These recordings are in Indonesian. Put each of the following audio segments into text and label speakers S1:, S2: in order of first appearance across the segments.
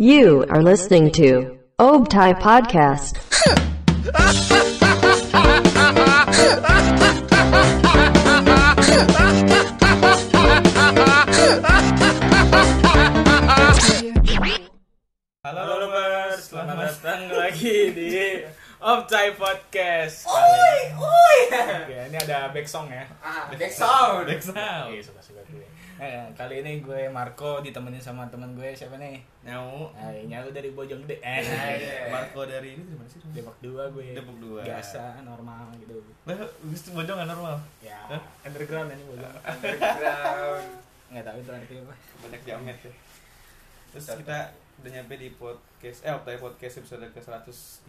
S1: You are listening to Obtai Podcast.
S2: Halo lovers, selamat datang lagi di Of Time Podcast.
S3: Oi, oi.
S2: Ya, ini ada back song ya.
S3: Ah, back sound.
S2: Iya, suka-suka gue. Eh, kali ini gue Marco ditemenin sama teman gue siapa nih?
S4: Nyau
S2: Hai, nyalu dari Bojonggede. Eh,
S3: Iya.
S4: Marco dari ini dari mana sih?
S2: Depok 2 gue.
S4: Depok dua.
S2: Iya. Biasa, normal gitu.
S4: Lah, wis bodoh nggak normal.
S2: Ya, underground ini Bojong.
S3: Underground.
S2: Enggak tahu itu artinya apa.
S4: Banyak jamet ya. Terus kita udah nyampe di podcast eh Optai Podcast episode ke-103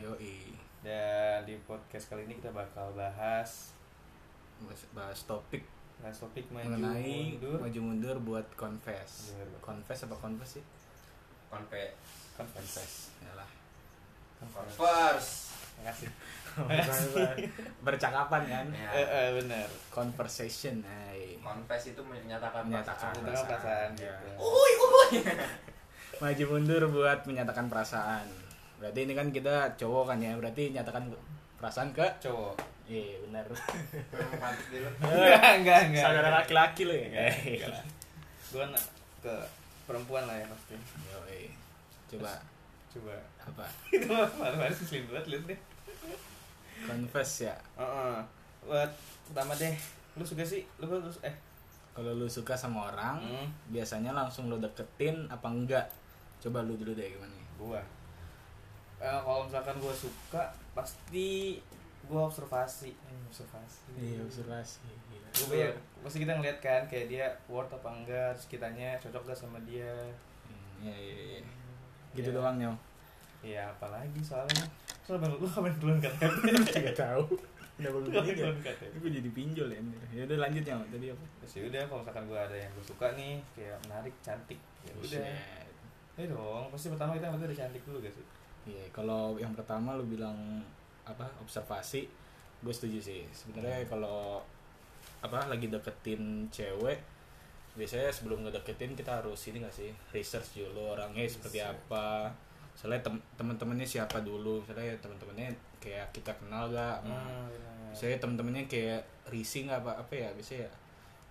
S2: Yoi.
S4: dan di podcast kali ini kita bakal bahas
S2: Bahas topik
S4: bahas topik maju
S2: mengenai
S4: mundur.
S2: maju mundur buat confess.
S4: Iya, buat
S2: Confess apa confess sih?
S3: Konve.
S4: Confess.
S2: Yalah.
S3: Converse.
S4: Makasih.
S2: Bercakapan kan?
S3: Ya,
S4: Eh, eh benar.
S2: Conversation, hai.
S3: Confess itu menyatakan
S2: Menyatakan
S3: perasaan. Ya. Oh.
S4: Tentang perasaan
S2: Iya.
S4: gitu.
S3: Oi, oi.
S2: maju mundur buat menyatakan perasaan berarti ini kan kita cowok kan ya berarti nyatakan perasaan ke
S4: Cowok.
S2: iya benar
S3: Pantes dulu.
S4: Enggak, enggak, enggak.
S2: Eh, saudara laki-laki lo ya
S4: Enggak, enggak lah. Gua na- ke perempuan lah ya pasti.
S2: Yoi. coba
S4: Coba.
S2: apa
S4: Itu mah marah-marah sih slim banget lihat deh.
S2: confess ya
S4: Heeh. Buat pertama deh, lu suka sih? Lu lu eh
S2: kalau lu suka sama orang
S4: Hmm.
S2: biasanya langsung lu deketin apa enggak coba lu dulu deh gimana
S4: gua. Eh, kalau misalkan gua suka, pasti gua observasi.
S2: Hmm,
S4: Eh, observasi.
S2: iya observasi Gila.
S4: Gua banyak, pasti kita ngeliat kan kayak dia worth apa enggak, terus kitanya cocok gak sama dia.
S2: Hmm, iya iya iya gitu
S4: Iya.
S2: doang nyaw
S4: Ya apalagi soalnya soalnya lu kapan duluan kan?
S2: Iya. tidak tahu kenapa lu
S4: Kapan
S2: ya
S4: duluan kan?
S2: gue jadi pinjol ya bener. ya udah lanjut nyaw tadi apa
S4: Terus yaudah kalau misalkan gua ada yang gua suka nih, kayak menarik, cantik. Ya udah.
S2: Buset.
S4: Ya dong, pasti pertama kita ngeliat udah cantik dulu gak sih?
S2: Iya, kalau yang pertama lu bilang apa observasi, gue setuju sih. Sebenarnya kalau apa lagi deketin cewek, biasanya sebelum ngedeketin kita harus ini gak sih research dulu orangnya seperti apa. Soalnya tem teman-temannya siapa dulu, misalnya teman-temannya kayak kita kenal gak, sama-
S4: Hmm. benar.
S2: misalnya teman-temannya kayak risih nggak apa apa ya biasanya ya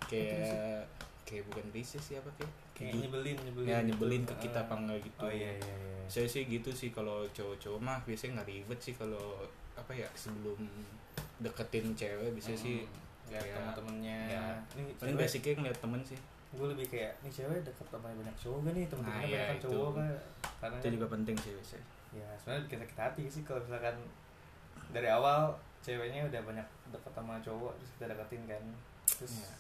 S2: kayak kayak bukan risih sih apa kayak
S4: Kayak nyebelin, nyebelin.
S2: ya nyebelin ke kita apa
S4: Ah.
S2: enggak gitu
S4: Oh iya iya iya.
S2: saya sih gitu sih kalau cowok-cowok mah biasanya nggak ribet sih kalau apa ya sebelum deketin cewek biasanya sih
S4: Lihat
S2: kayak-
S4: temen-temennya.
S2: ya.
S4: Nih,
S2: paling
S4: Iya. cewek,
S2: basicnya ngeliat temen sih
S4: gue lebih kayak nih cewek deket sama yang banyak cowok gak nih temen-temennya
S2: Nah, iya,
S4: banyak
S2: itu.
S4: cowok kan. Karena
S2: itu
S4: kan-
S2: juga penting sih biasanya
S4: ya sebenarnya bikin sakit hati sih kalau misalkan dari awal ceweknya udah banyak deket sama cowok terus kita deketin kan. Terus
S2: Iya.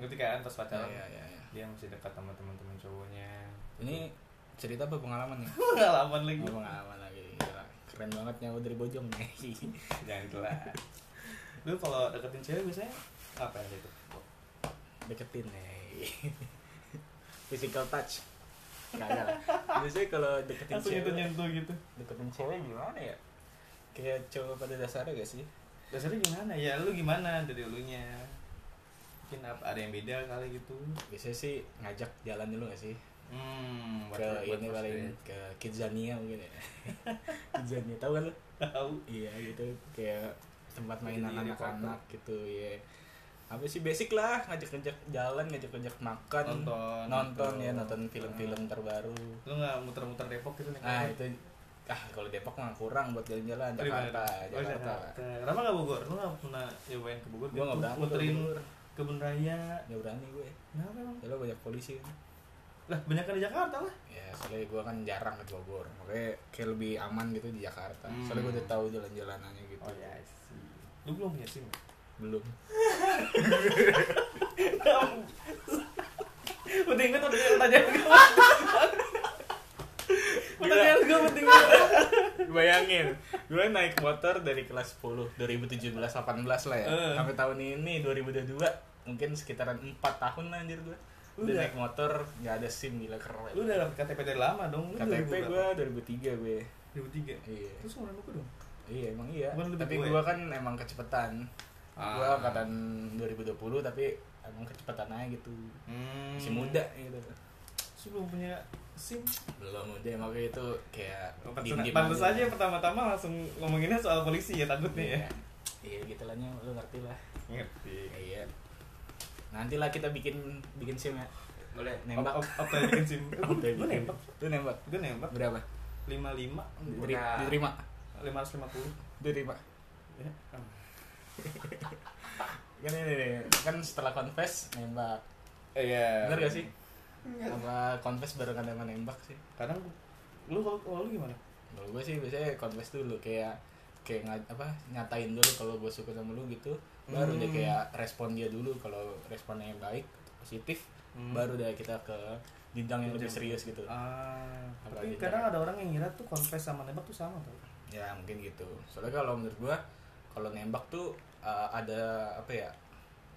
S4: ngerti kan pas pacaran
S2: ya, ya, ya.
S4: dia masih dekat sama teman-teman cowoknya.
S2: ini cerita apa pengalaman nih
S4: pengalaman lagi.
S2: oh, pengalaman lagi Gila. keren banget nyawa dari bojong nih
S4: Jangan gitu lah. Lu kalau deketin cewek biasanya apa ya itu?
S2: deketin nih physical touch kagak lah biasanya kalau deketin
S4: Langsung
S2: cewek
S4: nyentuh-nyentuh gitu.
S2: deketin cewek gimana ya kayak cowok pada dasarnya gak sih
S4: dasarnya gimana ya lu gimana dari dulunya mungkin apa ada yang beda kali gitu
S2: biasanya sih ngajak jalan dulu gak sih
S4: hmm
S2: ke ini paling ke Kidzania mungkin ya Kidzania tahu kan lu
S4: tahu
S2: iya gitu kayak tempat
S4: Jadi
S2: mainan
S4: di
S2: anak-anak gitu ya apa sih basic lah ngajak-ngajak jalan ngajak-ngajak makan
S4: Nonton,
S2: nonton
S4: gitu. Ah.
S2: ya nonton film-film terbaru
S4: lu nggak muter-muter Depok gitu nih
S2: ah itu ah kalau Depok mah kurang buat jalan-jalan
S4: Dari mana?
S2: Jakarta
S4: Oh,
S2: Jakarta
S4: Jakarta. Kenapa nggak Bogor? Lu nggak pernah nyobain ke Bogor?
S2: Gua nggak berani ke
S4: Muterin
S2: Bogor.
S4: kebun raya.
S2: nggak berani gue
S4: Kenapa emang?
S2: kalau banyak polisi kan
S4: Lah, banyak di Jakarta lah.
S2: ya soalnya gue kan jarang ke Bogor makanya kayak lebih aman gitu di Jakarta soalnya gue udah tahu jalan-jalanannya
S4: Oh,
S2: gitu
S4: sih. ya, Lu belum punya SIM? ya?
S2: belum
S4: penting banget udah pertanyaan gue. Pertanyaan gue penting banget.
S2: bayangin gue naik motor dari kelas 10 2017 18 lah ya
S4: Eh.
S2: sampai tahun ini 2022 mungkin sekitaran 4 tahun lah anjir gue udah,
S4: Udah.
S2: naik motor nggak ada sim gila keren
S4: Lu udah dapet KTP dari lama dong. Lu
S2: KTP
S4: 2000
S2: gue
S4: berapa?
S2: 2003 gue
S4: 2003.
S2: iya
S4: Terus umuran aku dong.
S2: iya emang iya
S4: Bukan lebih
S2: tapi
S4: gue.
S2: gue kan emang kecepetan
S4: Ah.
S2: gue angkatan 2020 tapi emang kecepetan aja gitu
S4: Hmm.
S2: masih muda gitu
S4: sih belum punya sim
S2: belum udah makanya itu kayak
S4: pantes
S2: diem-diem
S4: pantes aja pertama-tama langsung ngomonginnya soal polisi ya takutnya ya
S2: Iya. iya gitu lah Nyo. lu ngerti lah
S4: ngerti
S2: Ya, iya nantilah kita bikin bikin sim ya
S3: Boleh.
S2: nembak Gitu
S4: apa bikin sim Eh, gua- gua nembak
S2: Oh, lu nembak
S4: gue nembak
S2: berapa
S4: lima lima
S2: Diteri-
S3: Udah.
S2: diterima
S4: lima ratus lima puluh Ya,
S2: diterima kan ini nih, kan setelah confess nembak
S4: iya
S2: bener gak sih apa confess barengan sama nembak sih
S4: kadang gua- lu kalau kalau lu gimana
S2: kalau gue sih biasanya confess dulu kayak kayak nga- apa nyatain dulu kalau gue suka sama lu gitu baru deh
S4: Hmm.
S2: kayak respon dia dulu kalau responnya yang baik positif
S4: Hmm.
S2: baru deh kita ke jenjang yang lebih
S4: Jenjang.
S2: serius gitu
S4: ah
S2: Apalagi
S4: tapi kadang
S2: jangan.
S4: ada orang yang ngira tuh confess sama nembak tuh sama tau
S2: ya mungkin gitu soalnya kalau menurut gue kalau nembak tuh uh, ada apa ya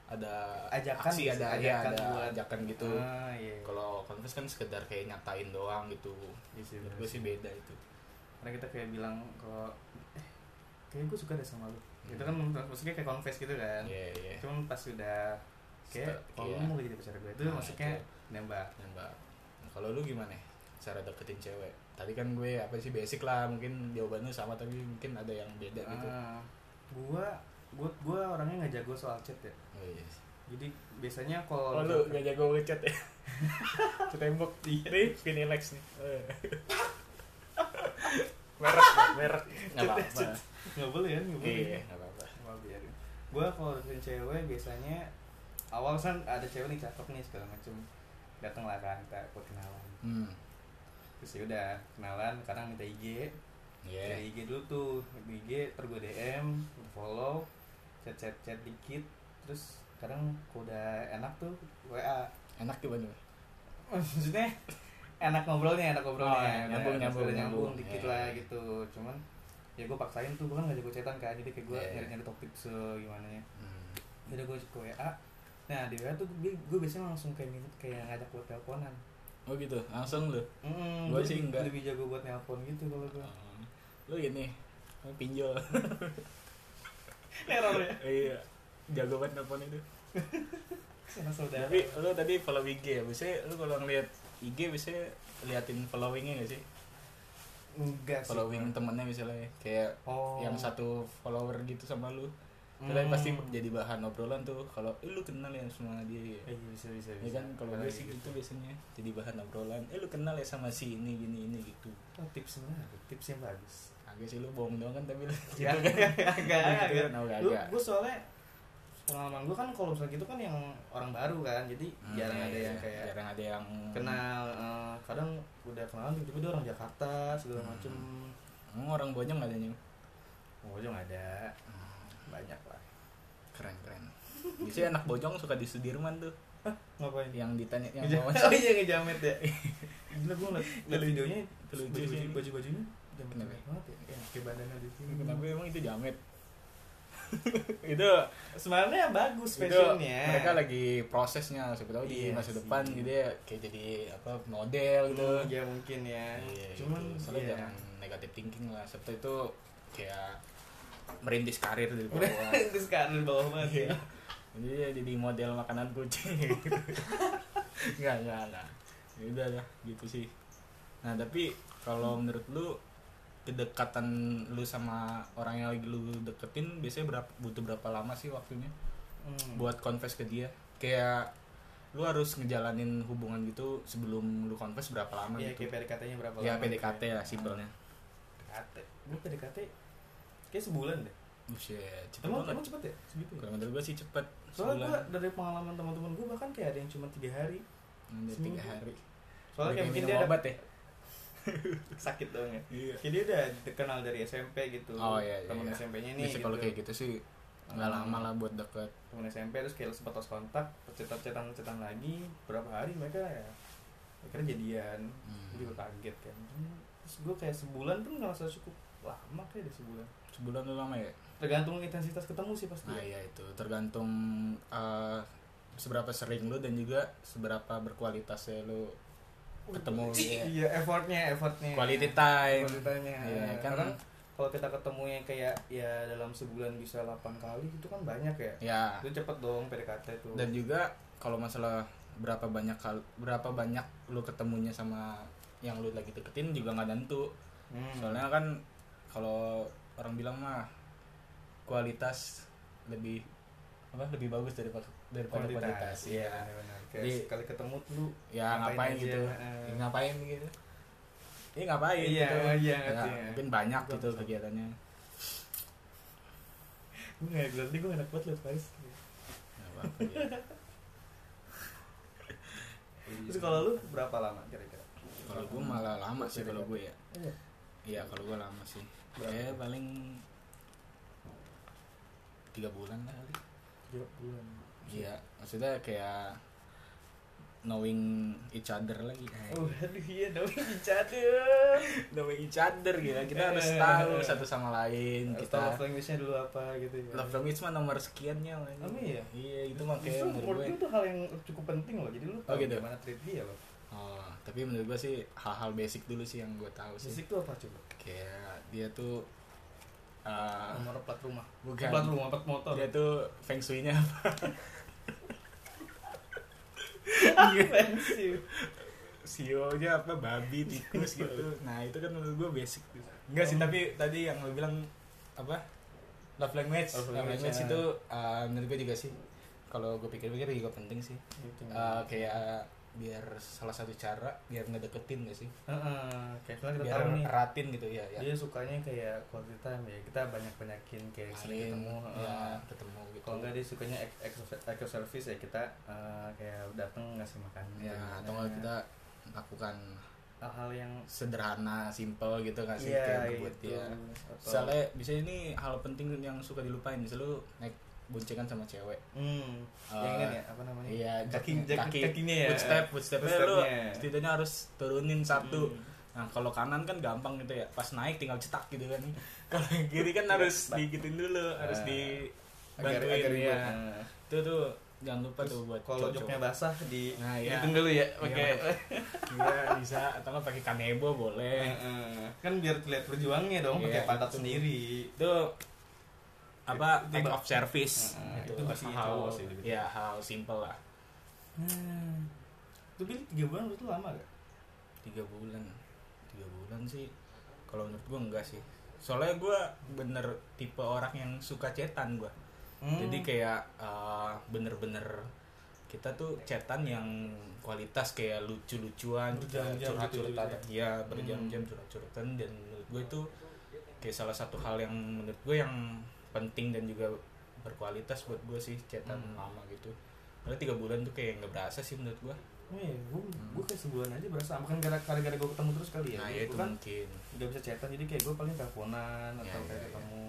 S2: ada
S4: Ajakan
S2: aksi
S4: gitu,
S2: ada ajakan,
S4: ajakan
S2: ada
S4: buat-
S2: ajakan gitu
S4: ah iya
S2: kalau confess kan sekedar kayak nyatain doang gitu
S4: Iya sih,
S2: menurut
S4: bener
S2: gue
S4: sih.
S2: sih beda itu
S4: karena kita kayak bilang kalau eh kayaknya gue suka deh sama lu itu kan maksudnya kayak confess gitu kan
S2: Hmm. iya iya
S4: cuman pas sudah kayak
S2: Setel-
S4: kalau
S2: iya.
S4: lu mau jadi pacar gue itu
S2: Nah,
S4: maksudnya
S2: itu.
S4: nembak
S2: nembak nah, kalau lu gimana cara deketin cewek tadi kan gue apa sih basic lah mungkin jawaban lu sama tapi mungkin ada yang beda gitu
S4: Ah, gua gua gua orangnya nggak jago soal chat ya
S2: oh, iya.
S4: jadi biasanya
S2: oh
S4: kalau
S2: lu gak jago ngechat ya Iya. ketembok ini Finilex nih Eh. merek merek nggak apa-apa
S4: nggak boleh ya nggak boleh
S2: iya nggak apa-apa
S4: Wah, biarin. Gua kalau deketin cewek biasanya awal kan ada cewek nih cakep nih segala macem datang lah kan kita buat kenalan
S2: hmm
S4: terus ya udah kenalan kadang minta IG
S2: iya
S4: dari IG dulu tuh di IG terus gue DM gua follow chat chat chat dikit terus kadang kalau udah enak tuh WA
S2: enak gimana
S4: maksudnya enak ngobrolnya enak ngobrolnya
S2: Oh, ya, nyambung,
S4: Enak
S2: nyambung,
S4: ngobrolnya, nyambung,
S2: nyambung.
S4: dikit
S2: Ya,
S4: lah
S2: ya.
S4: gitu cuman ya gue paksain tuh gue kan gak jago cetan kan jadi kayak gue
S2: Ya, ya.
S4: nyari nyari topik se gimana ya
S2: hmm.
S4: jadi gue ke WA nah di WA tuh gue, gue biasanya langsung kayak min- kayak ngajak buat teleponan
S2: oh gitu langsung lu
S4: Mm,
S2: Gua
S4: gua
S2: sih
S4: lebih-
S2: enggak.
S4: lebih jago buat nelpon gitu kalau gue
S2: Oh. lu ini lu pinjol
S4: error ya
S2: iya jago banget telepon itu
S4: sama saudara
S2: Tapi lu tadi follow IG ya, biasanya lu kalau ngeliat IG biasanya liatin followingnya gak sih?
S4: enggak sih
S2: Following temennya misalnya kayak
S4: oh
S2: yang satu follower gitu sama lu. Kalian
S4: Hmm.
S2: pasti jadi bahan obrolan tuh kalau eh, lu kenal ya sama dia ya.
S4: Eh, iya, bisa bisa
S2: Ya
S4: bisa.
S2: kan kalau gue
S4: Apalagi
S2: sih
S4: gitu.
S2: gitu biasanya jadi bahan obrolan. Eh lu kenal ya sama si ini gini ini gitu.
S4: oh, tips menarik, tips yang bagus
S2: Agak sih lu bohong doang kan tapi lu gitu
S4: ya
S2: kan.
S4: agak
S2: Gitu kan,
S4: agak
S2: oh, agak.
S4: lu gue soalnya pengalaman gue kan kalau misalnya gitu kan yang orang baru kan jadi
S2: Hmm,
S4: jarang
S2: iya,
S4: ada
S2: iya.
S4: yang kayak
S2: jarang ada yang
S4: kenal eh, kadang udah kenalan tiba-tiba dia orang Jakarta segala
S2: Hmm.
S4: macem
S2: Hmm, orang bonyong gak ada Nyu?
S4: oh nggak ada
S2: Hmm.
S4: banyak lah
S2: Keren keren. Biasanya anak bojong suka di Sudirman tuh
S4: ngapain
S2: yang ditanya Iya, yang
S4: Ngeja-
S2: mau
S4: oh iya ngejamet ya gila gue ngeliat ngeliat videonya
S2: Itu lucu
S4: baju
S2: sih.
S4: baju bajunya jamet
S2: Kenapa?
S4: banget ya yang pakai bandana di sini
S2: Kenapa emang itu jamet? itu
S4: sebenarnya bagus
S2: itu
S4: fashionnya
S2: mereka lagi prosesnya siapa tahu di
S4: Iya
S2: masa
S4: sih.
S2: depan gitu ya kayak jadi apa model gitu.
S4: Hmm, ya mungkin ya
S2: Iya,
S4: cuman
S2: gitu. soalnya
S4: iya.
S2: jangan negatif thinking lah. Serta itu kayak merintis karir dari
S4: udah
S2: bawah.
S4: itu sekarang di bawah
S2: Iya.
S4: banget ya
S2: jadi dia jadi model makanan kucing gitu. Enggak, enggak, enggak. Ya udah lah, gitu sih. Nah, tapi kalau menurut lu kedekatan lu sama orang yang lagi lu deketin biasanya berapa butuh berapa lama sih waktunya
S4: Hmm.
S2: buat confess ke dia? Kayak lu harus ngejalanin hubungan gitu sebelum lu confess berapa lama
S4: Iya,
S2: gitu?
S4: kayak PDKT-nya berapa
S2: ya
S4: lama?
S2: PDKT ya simpelnya.
S4: PDKT. Gue PDKT kayak sebulan deh.
S2: Buset, cepet
S4: Emang
S2: banget.
S4: emang cepet ya? Segitu ya?
S2: Kalau menurut gua sih cepet.
S4: Soalnya
S2: sebulan.
S4: gue dari pengalaman teman-teman gue bahkan kayak ada yang cuma tiga hari.
S2: Nanti tiga
S4: seminggu.
S2: hari.
S4: Soalnya kayak mungkin
S2: minum
S4: dia
S2: obat
S4: ada
S2: ya.
S4: sakit doang ya.
S2: Iya.
S4: Kayak dia udah dikenal dari SMP gitu.
S2: Oh, iya, iya,
S4: Temen
S2: iya.
S4: SMP-nya nih.
S2: Biasanya kalau kayak gitu sih nggak
S4: Hmm.
S2: lama lah buat deket.
S4: Temen SMP terus kayak sempat lost kontak, cetan-cetan lagi berapa hari mereka ya akhirnya jadian.
S2: Hmm.
S4: Gue juga kaget kan. Hmm, Terus gue kayak sebulan pun ngerasa cukup lama kayak udah sebulan.
S2: Sebulan tuh lama ya?
S4: Tergantung intensitas ketemu sih pasti.
S2: Nah iya itu tergantung eh, seberapa sering lu dan juga seberapa berkualitasnya lu ketemu.
S4: Iya,
S2: Iya.
S4: effortnya, effortnya.
S2: Quality time.
S4: Quality time-nya.
S2: Iya, kan?
S4: Kadang kalau kita ketemu yang kayak ya dalam sebulan bisa 8 kali itu kan banyak ya.
S2: Ya
S4: Itu cepet dong PDKT itu.
S2: dan juga kalau masalah berapa banyak kal berapa banyak lu ketemunya sama yang lu lagi deketin juga nggak tentu
S4: Hmm.
S2: soalnya kan kalau orang bilang mah kualitas lebih apa lebih bagus daripada daripada kualitas,
S4: iya
S2: Iya.
S4: benar kayak
S2: Jadi-
S4: sekali ketemu lu
S2: ya ngapain,
S4: aja,
S2: gitu
S4: eh.
S2: Ya, ngapain gitu Iya ngapain
S4: Iya,
S2: gitu Ya,
S4: iya, ngerti, ya.
S2: mungkin banyak gitu kegiatannya
S4: gue nggak berarti gue enak banget liat Faris
S2: Nggak apa-apa, ya.
S4: terus kalau lu berapa lama kira-kira
S2: kalau gue malah lama sih kalau gue ya
S4: Iya.
S2: iya kalau gue lama sih
S4: Berapa?
S2: ya paling tiga bulan lah kali
S4: tiga bulan
S2: iya maksudnya kayak knowing each other lagi
S4: oh aduh iya dong dicatat
S2: knowing each other gitu kita harus
S4: Eh.
S2: tahu satu sama lain
S4: kita
S2: kita
S4: love language-nya dulu apa gitu ya
S2: love language mah nomor sekiannya lah
S4: Oh, iya?
S2: iya itu mah kayak
S4: Justru menurut
S2: menurut gue
S4: gue itu hal yang cukup penting loh jadi lu tahu
S2: gitu.
S4: gimana treat dia loh
S2: oh tapi menurut gue sih hal-hal basic dulu sih yang gue tahu sih
S4: sisik tuh apa coba
S2: kayak dia tuh uh,
S4: nomor plat rumah
S2: Bukan.
S4: plat rumah plat motor
S2: dia tuh feng shui-nya apa
S4: Offensive.
S2: sio-nya apa babi tikus gitu nah itu kan menurut gue basic tuh. enggak sih
S4: Oh.
S2: tapi tadi yang lo bilang apa love language
S4: Love
S2: love
S4: language,
S2: language,
S4: ya.
S2: itu uh, menurut gue juga sih kalau gue pikir-pikir juga penting sih
S4: gitu.
S2: Uh, kayak biar salah satu cara biar ngedeketin gak sih
S4: Heeh, kayak kita
S2: biar
S4: tahu nih Iya,
S2: ratin gitu ya, ya.
S4: dia sukanya kayak quality time ya kita banyak banyakin kayak sering
S2: Main,
S4: ketemu
S2: ya,
S4: heeh.
S2: ketemu gitu
S4: kalau nggak dia sukanya act- act of- act of service ya kita eh, kayak datang ngasih makan
S2: ya
S4: gimana.
S2: atau nggak kita lakukan
S4: hal-hal yang
S2: sederhana simple gitu nggak sih
S4: Iya,
S2: kayak buat
S4: gitu.
S2: dia
S4: Atau-
S2: misalnya bisa ini hal penting yang suka dilupain misalnya lu naik boncengan sama cewek
S4: hmm
S2: Eh,
S4: yang kan ya apa namanya
S2: iya
S4: kaki,
S2: jak-
S4: kaki kakinya ya
S2: footstep footstepnya lu
S4: Footstepnya.
S2: setidaknya harus turunin satu
S4: Hmm.
S2: nah kalau kanan kan gampang gitu ya pas naik tinggal cetak gitu kan kalau yang kiri kan harus digitin dulu harus
S4: Nah,
S2: dibantuin
S4: agar
S2: ya
S4: agar ribet. Nah.
S2: itu tuh jangan lupa tuh buat
S4: kalau
S2: cowok-cowok.
S4: joknya basah di
S2: Nah, iya.
S4: hitung dulu ya oke
S2: Iya, iya bisa atau nggak pakai kanebo boleh
S4: kan biar terlihat perjuangnya dong
S2: Eh, Iya,
S4: pakai pantat
S2: itu.
S4: sendiri
S2: itu apa
S4: Itu
S2: act
S4: ba-
S2: of service
S4: Nah,
S2: Gitu.
S4: itu masih
S2: hal
S4: cowok sih, gitu.
S2: ya hal simple lah
S4: Hmm. Lu bilang tiga bulan itu lama gak?
S2: tiga bulan tiga bulan sih kalau menurut gue enggak sih soalnya gue bener tipe orang yang suka cetan gue
S4: Hmm.
S2: jadi kayak eh, bener-bener kita tuh cetan yang kualitas kayak lucu-lucuan kita
S4: Berjam-jam gitu, Hmm.
S2: curhat-curhatan
S4: gitu-gitu
S2: ya berjam-jam curhat-curhatan dan menurut gue itu kayak salah satu hal yang menurut gue yang penting dan juga berkualitas buat gue sih cetan
S4: Hmm.
S2: lama gitu karena tiga bulan tuh kayak nggak berasa sih menurut gue
S4: Oh iya, gue gue kayak sebulan aja berasa bukan gara gara gara gue ketemu terus kali ya.
S2: Hmm. nah
S4: Gua-
S2: ya itu
S4: gua kan
S2: mungkin
S4: nggak bisa chatan jadi kayak gue paling teleponan
S2: Ya,
S4: atau
S2: ya,
S4: kayak
S2: ya.
S4: ketemu.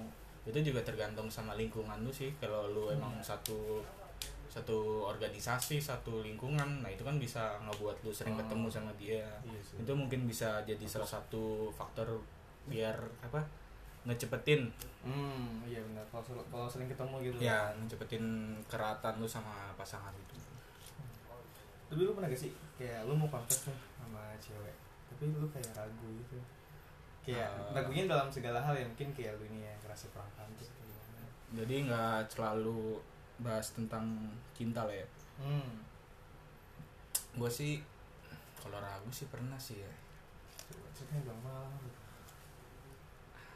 S2: itu juga tergantung sama lingkungan lu sih kalau lu emang satu satu organisasi satu lingkungan nah itu kan bisa ngebuat lu sering
S4: Oh.
S2: ketemu sama dia
S4: Iya sih.
S2: itu mungkin bisa jadi salah satu faktor biar apa ngecepetin
S4: Hmm, iya benar. Kalau sel- kalau sering ketemu gitu.
S2: ya ngecepetin keratan lu sama pasangan itu
S4: Tapi lu pernah gak sih kayak lu mau kontes nih sama cewek, tapi lu kayak ragu gitu. Kayak
S2: Eh.
S4: ragunya dalam segala hal ya mungkin kayak lu ini ya kerasa kurang pantas atau gimana.
S2: jadi nggak selalu bahas tentang cinta lah ya
S4: Hmm.
S2: gue sih kalau ragu sih pernah sih ya
S4: Coba ceritanya gampang.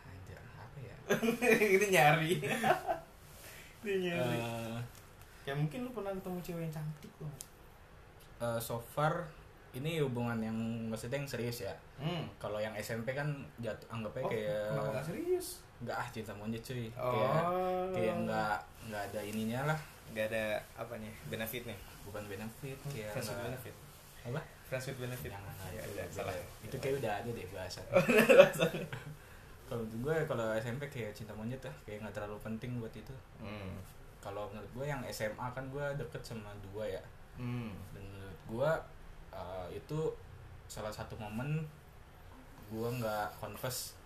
S2: anjir apa ya
S4: Itu nyari. Itu nyari.
S2: Eh,
S4: Ya mungkin lu pernah ketemu cewek yang cantik loh.
S2: eh, so far ini hubungan yang maksudnya yang serius ya
S4: Hmm.
S2: kalau yang SMP kan jatuh anggapnya
S4: Oh,
S2: kayak
S4: kenapa nggak serius?
S2: nggak ah cinta monyet cuy kayak
S4: Oh.
S2: kayak nggak nggak ada ininya lah
S4: Nggak ada apanya benefitnya.
S2: bukan benefit kayak
S4: Friends with
S2: nggak-
S4: Hmm, benefit.
S2: apa
S4: Friends with benefit.
S2: Jangan, itu
S4: Ya, udah,
S2: udah
S4: salah.
S2: beda. itu kayak udah ada deh bahasa kalau menurut gue kalau SMP kayak cinta monyet lah kayak nggak terlalu penting buat itu
S4: Hmm.
S2: kalau menurut gue yang SMA kan gue deket sama dua ya
S4: Hmm.
S2: dan menurut gua uh, itu salah satu momen gua nggak confess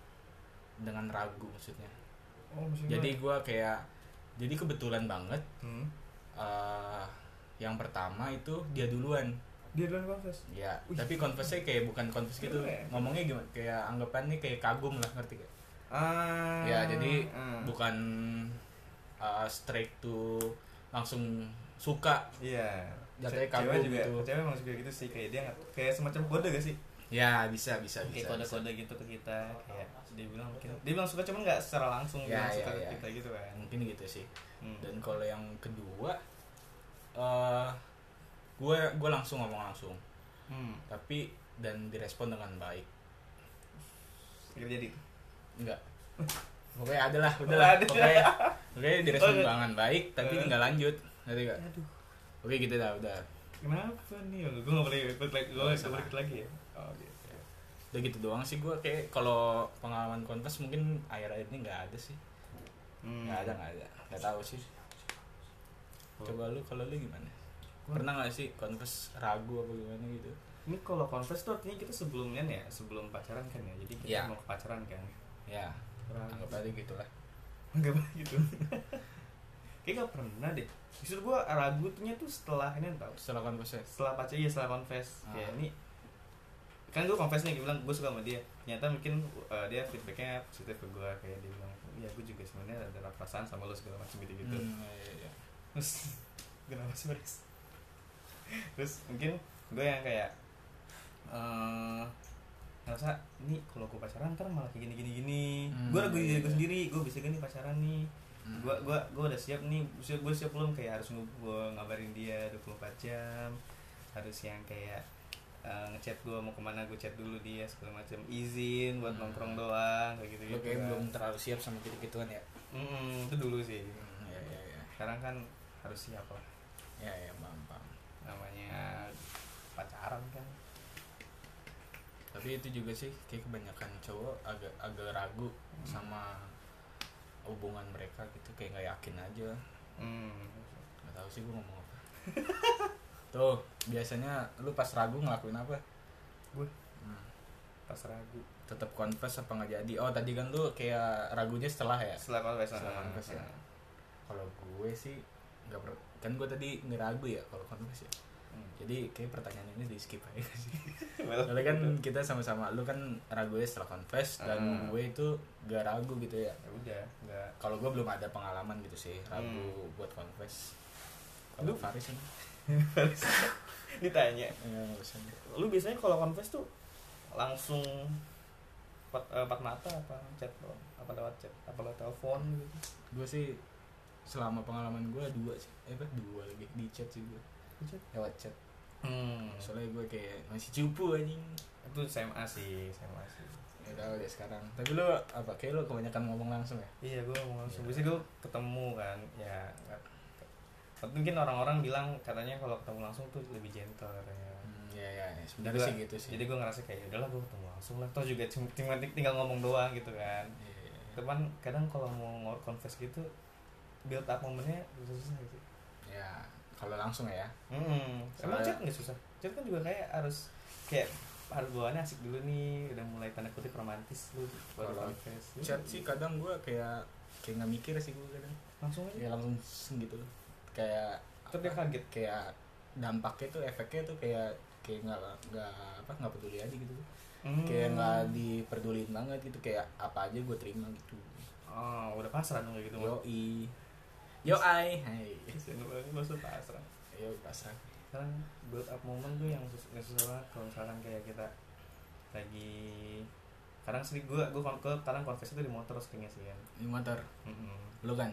S2: dengan ragu maksudnya
S4: Oh, maksudnya.
S2: jadi gua kayak jadi kebetulan banget
S4: hmm.
S2: uh, yang pertama itu dia duluan
S4: dia duluan confess.
S2: ya
S4: Wih. ya?
S2: tapi confessnya kayak bukan confess gitu
S4: Keren.
S2: ngomongnya gimana kayak anggapannya kayak kagum lah ngerti gak
S4: Ah.
S2: ya jadi
S4: ah.
S2: bukan uh, straight to langsung suka
S4: Iya.
S2: jatuhnya
S4: cewek
S2: kagum
S4: juga
S2: gitu
S4: cewek emang suka gitu sih kayak dia nggak- kayak semacam kode gak sih
S2: ya bisa bisa
S4: kayak
S2: bisa bisa.
S4: kode-kode gitu ke kita kayak dia bilang mungkin dia bilang suka cuman nggak secara langsung
S2: Ya,
S4: bilang
S2: ya,
S4: suka ke
S2: ya.
S4: kita gitu kan
S2: mungkin gitu sih
S4: Hmm.
S2: dan kalau yang kedua eh gue gue langsung ngomong langsung
S4: hmm.
S2: tapi dan direspon dengan baik
S4: Gitu jadi
S2: enggak pokoknya ada lah udah
S4: Oh,
S2: lah
S4: ada.
S2: pokoknya pokoknya direspon
S4: Oh,
S2: dengan baik tapi
S4: Eh.
S2: nggak lanjut ngerti gak
S4: aduh
S2: oke gitu dah udah
S4: kenapa nih gue nggak boleh ikut lagi gue nggak boleh ikut lagi ya oh gitu
S2: udah gitu doang sih gue kayak kalau pengalaman kontes mungkin akhir-akhir ini nggak ada sih
S4: hmm.
S2: nggak ada nggak ada nggak tahu sih coba lu kalau lu gimana
S4: Gua-
S2: pernah nggak sih kontes ragu apa gimana gitu
S4: ini kalau converse tuh artinya kita sebelumnya nih ya sebelum pacaran kan ya jadi kita
S2: Iya.
S4: mau ke pacaran kan
S2: ya anggap aja gitulah
S4: nggak pernah gitu kayak gak pernah deh justru gue ragunya tuh setelah ini tau
S2: setelah kontes
S4: setelah pacar ya setelah confess
S2: Ah.
S4: kayak ini kan gue confess nih gue bilang gue suka sama dia ternyata mungkin uh, dia feedbacknya positif ke gue kayak dia bilang ya gue juga sebenarnya ada perasaan sama lo segala macam gitu gitu
S2: Hmm, iya, iya.
S4: terus kenapa sih Pres? terus mungkin gue yang kayak eh ngerasa ini kalau gue pacaran ntar malah kayak gini gini gini
S2: Hmm,
S4: gue ragu diri gue
S2: iya.
S4: sendiri gue bisa gini pacaran nih
S2: Hmm.
S4: gue gua gua udah siap nih siap gue siap belum kayak harus gue ngabarin dia 24 jam harus yang kayak eh, ngechat gue mau kemana gue chat dulu dia segala macam izin buat
S2: Hmm.
S4: nongkrong doang kayak gitu
S2: Lu kayak belum terlalu siap sama gitu-gituan ya?
S4: Mm, itu dulu sih
S2: Hmm, ya, ya, ya.
S4: sekarang kan harus siap lah
S2: Ya, ya, paham, paham.
S4: namanya pacaran kan
S2: Tapi itu juga sih kayak kebanyakan cowok agak agak ragu sama hubungan mereka gitu kayak nggak yakin aja.
S4: hmm.
S2: Nggak tahu sih gue ngomong apa. Tuh, biasanya lu pas ragu ngelakuin apa?
S4: Gua?
S2: Hmm.
S4: pas ragu
S2: Tetap confess apa nggak jadi? Oh, tadi kan lu kayak ragunya setelah ya?
S4: Eh, setelah konfes
S2: Setelah
S4: nah,
S2: konfes ya.
S4: nah.
S2: Kalau gue sih nggak per- kan gue tadi ngeragu ya kalau confess ya.
S4: Hmm.
S2: Jadi kayak pertanyaan ini di skip aja sih.
S4: Well,
S2: Soalnya kan kita sama-sama lu kan ragu ya setelah confess dan
S4: Ah.
S2: gue itu gak ragu gitu ya.
S4: ya udah nggak
S2: Kalau gue belum ada pengalaman gitu sih ragu buat confess. Kalau
S4: Lu?
S2: Faris ini
S4: ditanya
S2: ya, urusan.
S4: lu biasanya kalau konfes tuh langsung empat, eh, empat mata apa chat doang? apa lewat chat apa lewat telepon gitu
S2: Gue sih selama pengalaman gue dua sih, eh apa dua lagi di chat sih gue
S4: Chat?
S2: lewat chat.
S4: hmm.
S2: Soalnya gue kayak masih cupu anjing.
S4: itu SMA sih SMA sih
S2: Ya tahu deh sekarang. Tapi lu apa? Kayak lu kebanyakan ngomong langsung ya?
S4: Iya gue mau langsung
S2: Iya.
S4: Biasanya gue ketemu kan Ya nggak- tapi mungkin orang-orang bilang katanya kalau ketemu langsung tuh lebih gentle katanya.
S2: Hmm, ya ya, ya. sebenarnya
S4: Gua-
S2: sih gitu sih.
S4: Jadi gue ngerasa kayak "Ya udahlah gue ketemu langsung lah Toh juga cuma tinggal, tinggal ngomong doang gitu kan
S2: Iya, iya, iya.
S4: Cuman kadang kalau mau ngor confess gitu Build up momennya susah gitu
S2: ya kalau langsung ya.
S4: hmm.
S2: Soalnya-
S4: Emang chat nggak susah? Chat kan juga kayak harus Kayak harus bawaannya asik dulu nih Udah mulai tanda kutip romantis lu baru
S2: Kalau
S4: confess. Lu
S2: chat sih kadang gue kayak kayak nggak mikir sih gue kadang
S4: Langsung aja
S2: kayak langsung seng gitu kayak
S4: Ntar dia
S2: apa,
S4: kaget
S2: kayak dampaknya tuh efeknya tuh kayak kayak nggak nggak apa nggak peduli aja gitu kayak
S4: Hmm.
S2: nggak diperduliin banget gitu kayak apa aja gue terima gitu
S4: Oh, udah pasrah dong kayak gitu.
S2: yo i yo ai hai
S4: Maksud pasrah.
S2: yo pasrah
S4: Sekarang Kan build up moment tuh yang sus yang susah banget kalau misalkan kayak kita lagi kadang sering gue gue kon gue kadang konversi itu di motor seringnya sih kan.
S2: ini motor
S4: Mm-mm.
S2: lu kan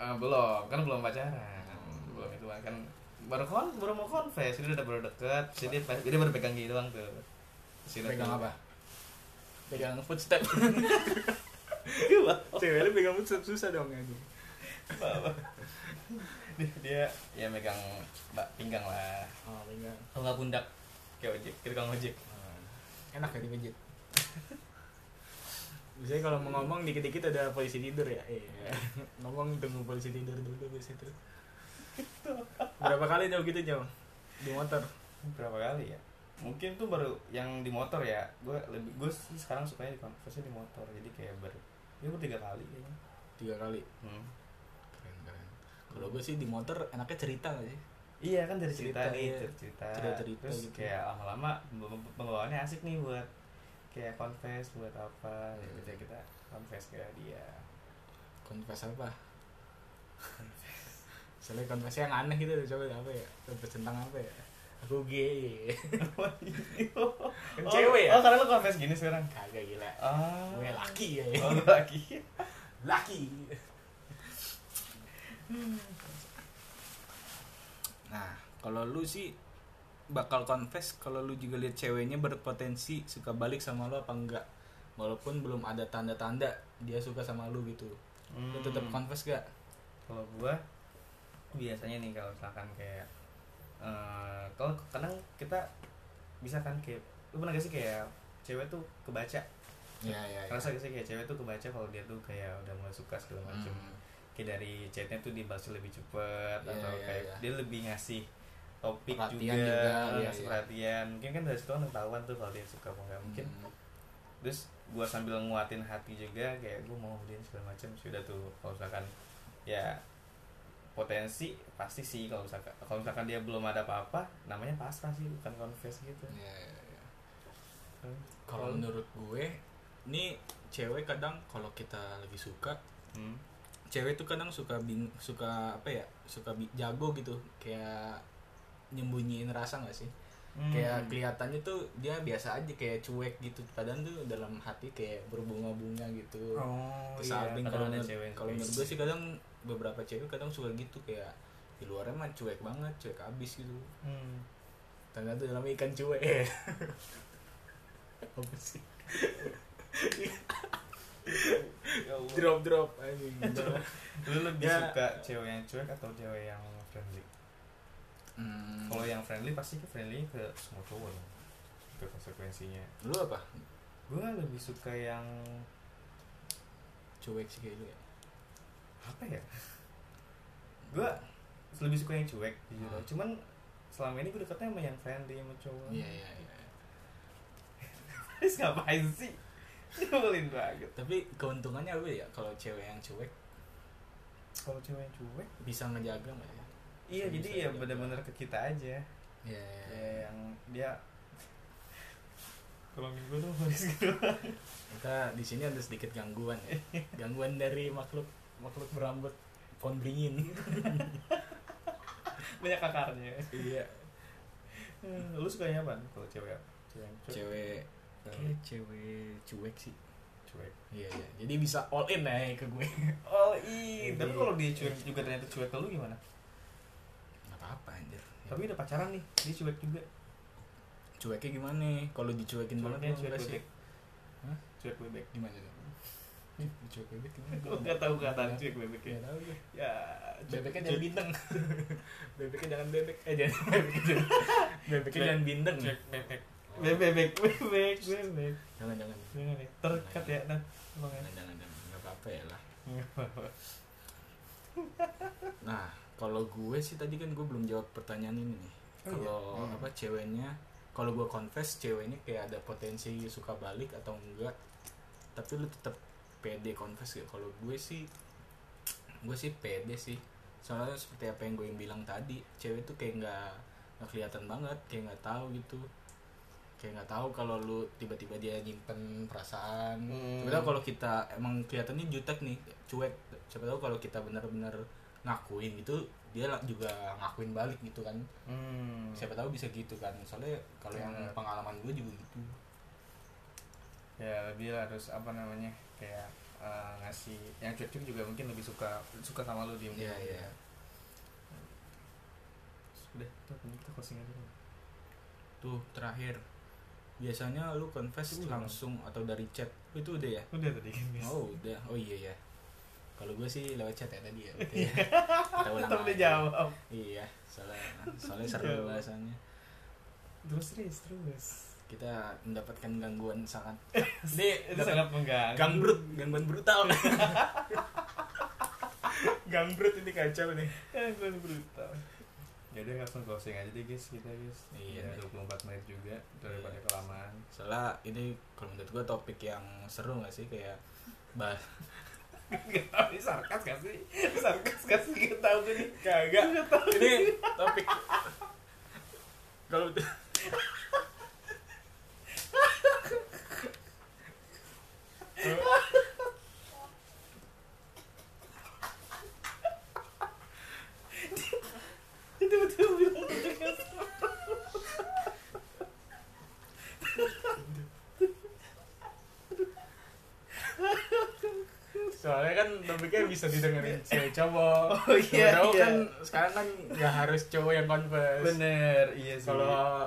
S4: Ah, belum, kan belum pacaran. Belum itu kan baru kon baru mau konvers, jadi udah baru deket, jadi dia, pas- dia baru pegang gini doang tuh. Terus dia
S2: pegang
S4: tuh-
S2: apa pegang footstep
S4: Gila.
S2: cewek lu pegang footstep susah dong ya
S4: dia, dia ya megang bak pinggang lah.
S2: oh pegang
S4: Kalau nggak pundak, kayak ojek, kita kan ojek.
S2: Hmm. enak ya dipijit biasanya kalau mau ngomong dikit-dikit ada polisi tidur ya iya. ngomong tunggu polisi tidur dulu di situ berapa kali jauh gitu jauh di motor
S4: berapa kali ya mungkin tuh baru yang di motor ya gue lebih gue sekarang sukanya di konversasi di motor jadi kayak baru ya baru tiga kali kayaknya
S2: tiga kali
S4: hmm.
S2: keren keren kalau gue sih di motor enaknya cerita gak sih
S4: iya kan dari cerita,
S2: Cerita,
S4: nih
S2: iya.
S4: cer- cerita
S2: Cerita-cerita
S4: terus
S2: gitu.
S4: kayak lama-lama pemb- pembawaannya asik nih buat kayak confess buat apa
S2: Hmm.
S4: kita kita confess ke dia
S2: konvers apa Soalnya konversi yang aneh gitu coba apa ya? Konversi tentang apa ya? Aku gay. Kan
S4: Oh,
S2: cewek ya?
S4: Oh, karena lu confess gini sekarang.
S2: Kagak gila.
S4: Ah.
S2: Gue laki ya.
S4: Oh, lu laki.
S2: Laki. Nah, kalau lu sih bakal confess kalau lu juga lihat ceweknya berpotensi suka balik sama lu apa enggak? Walaupun belum ada tanda-tanda dia suka sama lu gitu. Lu tetap
S4: Hmm.
S2: confess gak?
S4: kalau gua biasanya nih kalau misalkan kayak eh, kalau kadang kita bisa kan kayak lu pernah gak sih kayak cewek tuh kebaca
S2: Iya, iya.
S4: Ngerasa gak sih kayak cewek tuh kebaca kalau dia tuh kayak udah mulai suka segala
S2: Hmm.
S4: macem kayak dari chatnya tuh dibalas lebih cepet
S2: Iya,
S4: atau
S2: iya,
S4: kayak
S2: iya.
S4: dia lebih ngasih topik
S2: Perhatian
S4: juga,
S2: juga, iya,
S4: ngasih
S2: iya.
S4: perhatian mungkin kan dari situ kan ketahuan tuh kalau dia suka apa enggak mungkin
S2: Hmm.
S4: terus gua sambil nguatin hati juga kayak gua mau dia segala macam sudah tuh kalau misalkan ya potensi pasti sih kalau misalkan kalau misalkan dia belum ada apa-apa namanya pasrah sih bukan confess gitu Hmm.
S2: Iya, iya, iya. Hmm. Kalau menurut gue, nih cewek kadang kalau kita lagi suka,
S4: hmm.
S2: cewek tuh kadang suka bing, suka apa ya? Suka bi- jago gitu, kayak nyembunyiin rasa nggak sih?
S4: Hmm.
S2: Kayak kelihatannya tuh dia biasa aja kayak cuek gitu, padahal tuh dalam hati kayak berbunga-bunga gitu.
S4: oh
S2: Kesalping
S4: kadang
S2: kalau
S4: ada
S2: menurut-
S4: cewek yang
S2: kalau
S4: suka
S2: menurut
S4: gitu.
S2: gue sih kadang beberapa cewek kadang suka gitu kayak di luarnya mah cuek banget, cuek abis gitu.
S4: Hmm.
S2: Tanda tuh dalamnya ikan cuek. Apa sih?
S4: Ya Allah.
S2: Drop drop anjing. Bener.
S4: lu lebih
S2: Ya.
S4: suka cewek yang cuek atau cewek yang friendly
S2: Hmm,
S4: kalau yang friendly pasti ke friendly ke semua cowok dong itu konsekuensinya
S2: lu apa?
S4: gue lebih suka yang
S2: Cuek sih kayak lu ya.
S4: apa ya gue lebih suka yang cuek jujur
S2: Hmm.
S4: cuman selama ini gue deketnya sama yang friendly sama cowok
S2: Iya iya iya.
S4: terus ngapain sih nyebelin banget
S2: Tapi keuntungannya apa ya kalau cewek yang cuek
S4: kalau cewek yang cuek
S2: bisa ngejaga nggak ya?
S4: iya
S2: Bisa
S4: jadi ya
S2: dijaga.
S4: bener-bener ke kita aja
S2: Iya
S4: ya yang dia kalau minggu tuh harus gitu
S2: Kita di sini ada sedikit gangguan ya. Gangguan dari makhluk makhluk berambut kondringin.
S4: banyak akarnya
S2: iya.
S4: Hmm, lu sukanya apa kalau cewek apa? cewek yang cuek,
S2: Cewek kayak cewek cuek sih.
S4: cuek.
S2: Iya iya. Jadi bisa all in ya ke gue.
S4: all in
S2: Jadi-
S4: iya. tapi kalau dia cuek juga ternyata cuek ke lu gimana
S2: Iya. Gak apa-apa anjir.
S4: tapi udah pacaran nih dia cuek juga
S2: Iya, cueknya gimana nih? Kalau dicuekin
S4: cueknya
S2: banget
S4: cuek
S2: gimana
S4: bebek
S2: sih? Hah?
S4: cuek bebek
S2: Gimana tuh? Cuek bebek gimana?
S4: Lu nggak tahu kataan cuek bebek ya
S2: Gak tahu gue.
S4: ya cuek-
S2: Iya. Bebeknya
S4: cuek-
S2: jangan bintang. bebeknya jangan bebek. Eh jangan bebeknya jangan. Bebeknya
S4: Cuek-
S2: jangan bintang.
S4: cuek bebek bebek bebek bebek
S2: Jangan jangan.
S4: jangan ya terkat ya nah tolong ya
S2: Jangan jangan jangan. Gak apa-apa ya lah.
S4: Nggak apa-apa.
S2: Nah, kalau gue sih tadi kan gue belum jawab pertanyaan ini nih.
S4: Oh, iya.
S2: Kalau
S4: Hmm.
S2: apa ceweknya kalau gue confess ceweknya kayak ada potensi suka balik atau enggak. Tapi lu tetap pede confess ya. Kalau gue sih gue sih pede sih. Soalnya seperti apa yang gue bilang tadi, cewek tuh kayak nggak nggak kelihatan banget, kayak nggak tahu gitu. Kayak nggak tahu kalau lu tiba-tiba dia nyimpen perasaan.
S4: Hmm.
S2: Sebenarnya kalau kita emang kelihatannya jutek nih, cuek. Siapa tahu kalau kita benar-benar ngakuin gitu, dia la- juga ngakuin balik gitu kan.
S4: hmm
S2: Siapa tahu bisa gitu kan. Soalnya kalau yang
S4: Ya.
S2: pengalaman gue juga gitu.
S4: ya lebih harus apa namanya kayak eh, ngasih yang cuek-cuek juga mungkin lebih suka suka sama lu diem
S2: Iya, iya.
S4: sudah tuh kita closing aja dulu.
S2: Tuh, terakhir. Biasanya lu confess
S4: Itu udah.
S2: langsung atau dari chat. Itu udah ya?
S4: udah tadi kan guys
S2: Oh, udah. Oh iya ya. Kalau gue sih lewat chat ya tadi ya. Oke.
S4: Iya.
S2: Kita ulang
S4: tetap dia
S2: lagi.
S4: jawab
S2: Iya, soalnya soalnya seru
S4: Jawab.
S2: bahasannya.
S4: terus terus terus
S2: Kita mendapatkan gangguan sangat. Ini
S4: itu sangat mengganggu
S2: gangbrut, gangguan brutal. gangbrut ini kacau nih.
S4: gangguan Eh, brutal ya udah langsung closing aja deh guys kita guys
S2: Iya,
S4: Udah 24 menit juga daripada
S2: Iya.
S4: kelamaan
S2: Soalnya ini kalau menurut gue topik yang seru gak sih kayak bah
S4: nggak tahu ini sarkas gak sih sarkas gak sih nggak tahu gue nih
S2: kagak ini topik kalau soalnya kan topiknya bisa didengerin cewek cowok
S4: Oh, iya,
S2: Cowok
S4: iya.
S2: kan sekarang kan nggak harus cowok yang confess
S4: bener iya sih
S2: kalau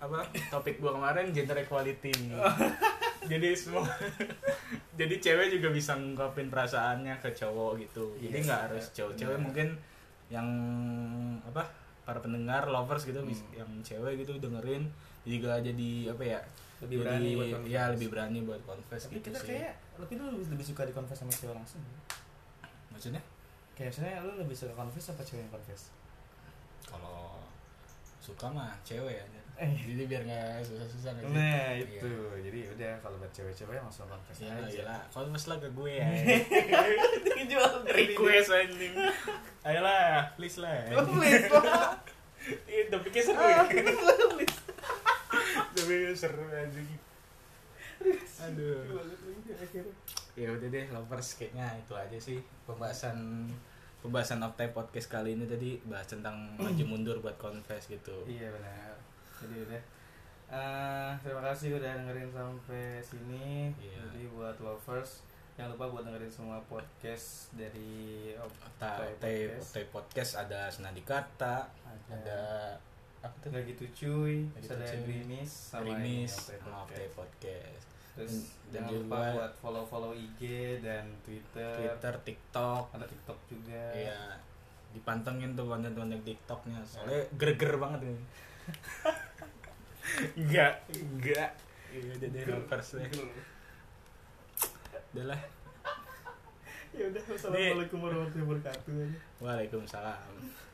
S2: apa topik gua kemarin gender equality jadi semua jadi cewek juga bisa ngungkapin perasaannya ke cowok gitu jadi
S4: Yes,
S2: nggak
S4: iya,
S2: harus cowok cewek
S4: benar.
S2: mungkin yang apa para pendengar lovers gitu bis-
S5: Hmm.
S2: yang cewek gitu dengerin juga jadi apa ya
S5: Lebih
S2: jadi-
S5: berani buat confess.
S2: iya lebih berani buat confess
S5: Tapi
S2: gitu
S5: kita
S2: sih
S5: kayak lebih lu lebih, lebih suka di confess sama cewek langsung. ya?
S2: maksudnya
S5: Kayak misalnya lu lebih suka confess apa cewek yang confess?
S2: kalau suka mah cewek aja
S5: Eh.
S2: jadi biar nggak susah-susah nggak sih?
S4: nah
S2: Iya.
S4: itu jadi udah kalau buat cewek-cewek langsung confess
S2: Ya
S4: aja
S2: lah, confess lah ke gue ya. Request ya, anjing. Ayolah, please lah.
S4: Oh,
S5: Please lah.
S2: Itu pikir
S4: Ah,
S2: seru ya. Tapi seru anjing. Aduh. Ya udah deh, lovers kayaknya itu aja sih pembahasan pembahasan Octave podcast kali ini tadi bahas tentang maju mundur buat confess gitu.
S4: Iya benar. Jadi udah. Eh, terima kasih udah dengerin sampai sini.
S2: Iya.
S4: Jadi buat lovers jangan lupa buat dengerin semua podcast dari
S2: Octave Octave- Octave podcast ada senadi kata,
S4: Iya.
S2: ada apa tuh?
S4: Gak gitu cuy,
S2: Gak
S4: terus
S2: Gitu
S4: ada
S2: Cuy.
S4: Grimis sama ini
S2: Rimis
S4: Octave
S2: sama Octave
S4: Podcast.
S2: podcast.
S4: Terus
S2: Dan
S4: jangan lupa
S2: juga-
S4: buat follow-follow IG dan Twitter.
S2: Twitter, TikTok,
S4: Ada TikTok juga.
S2: Iya. Dipantengin tuh konten-konten TikToknya. Soalnya greger banget ini. enggak, enggak. Iya, jadi lovers deh. Udah lah.
S4: Ya udah, wassalamualaikum warahmatullahi wabarakatuh.
S2: Waalaikumsalam.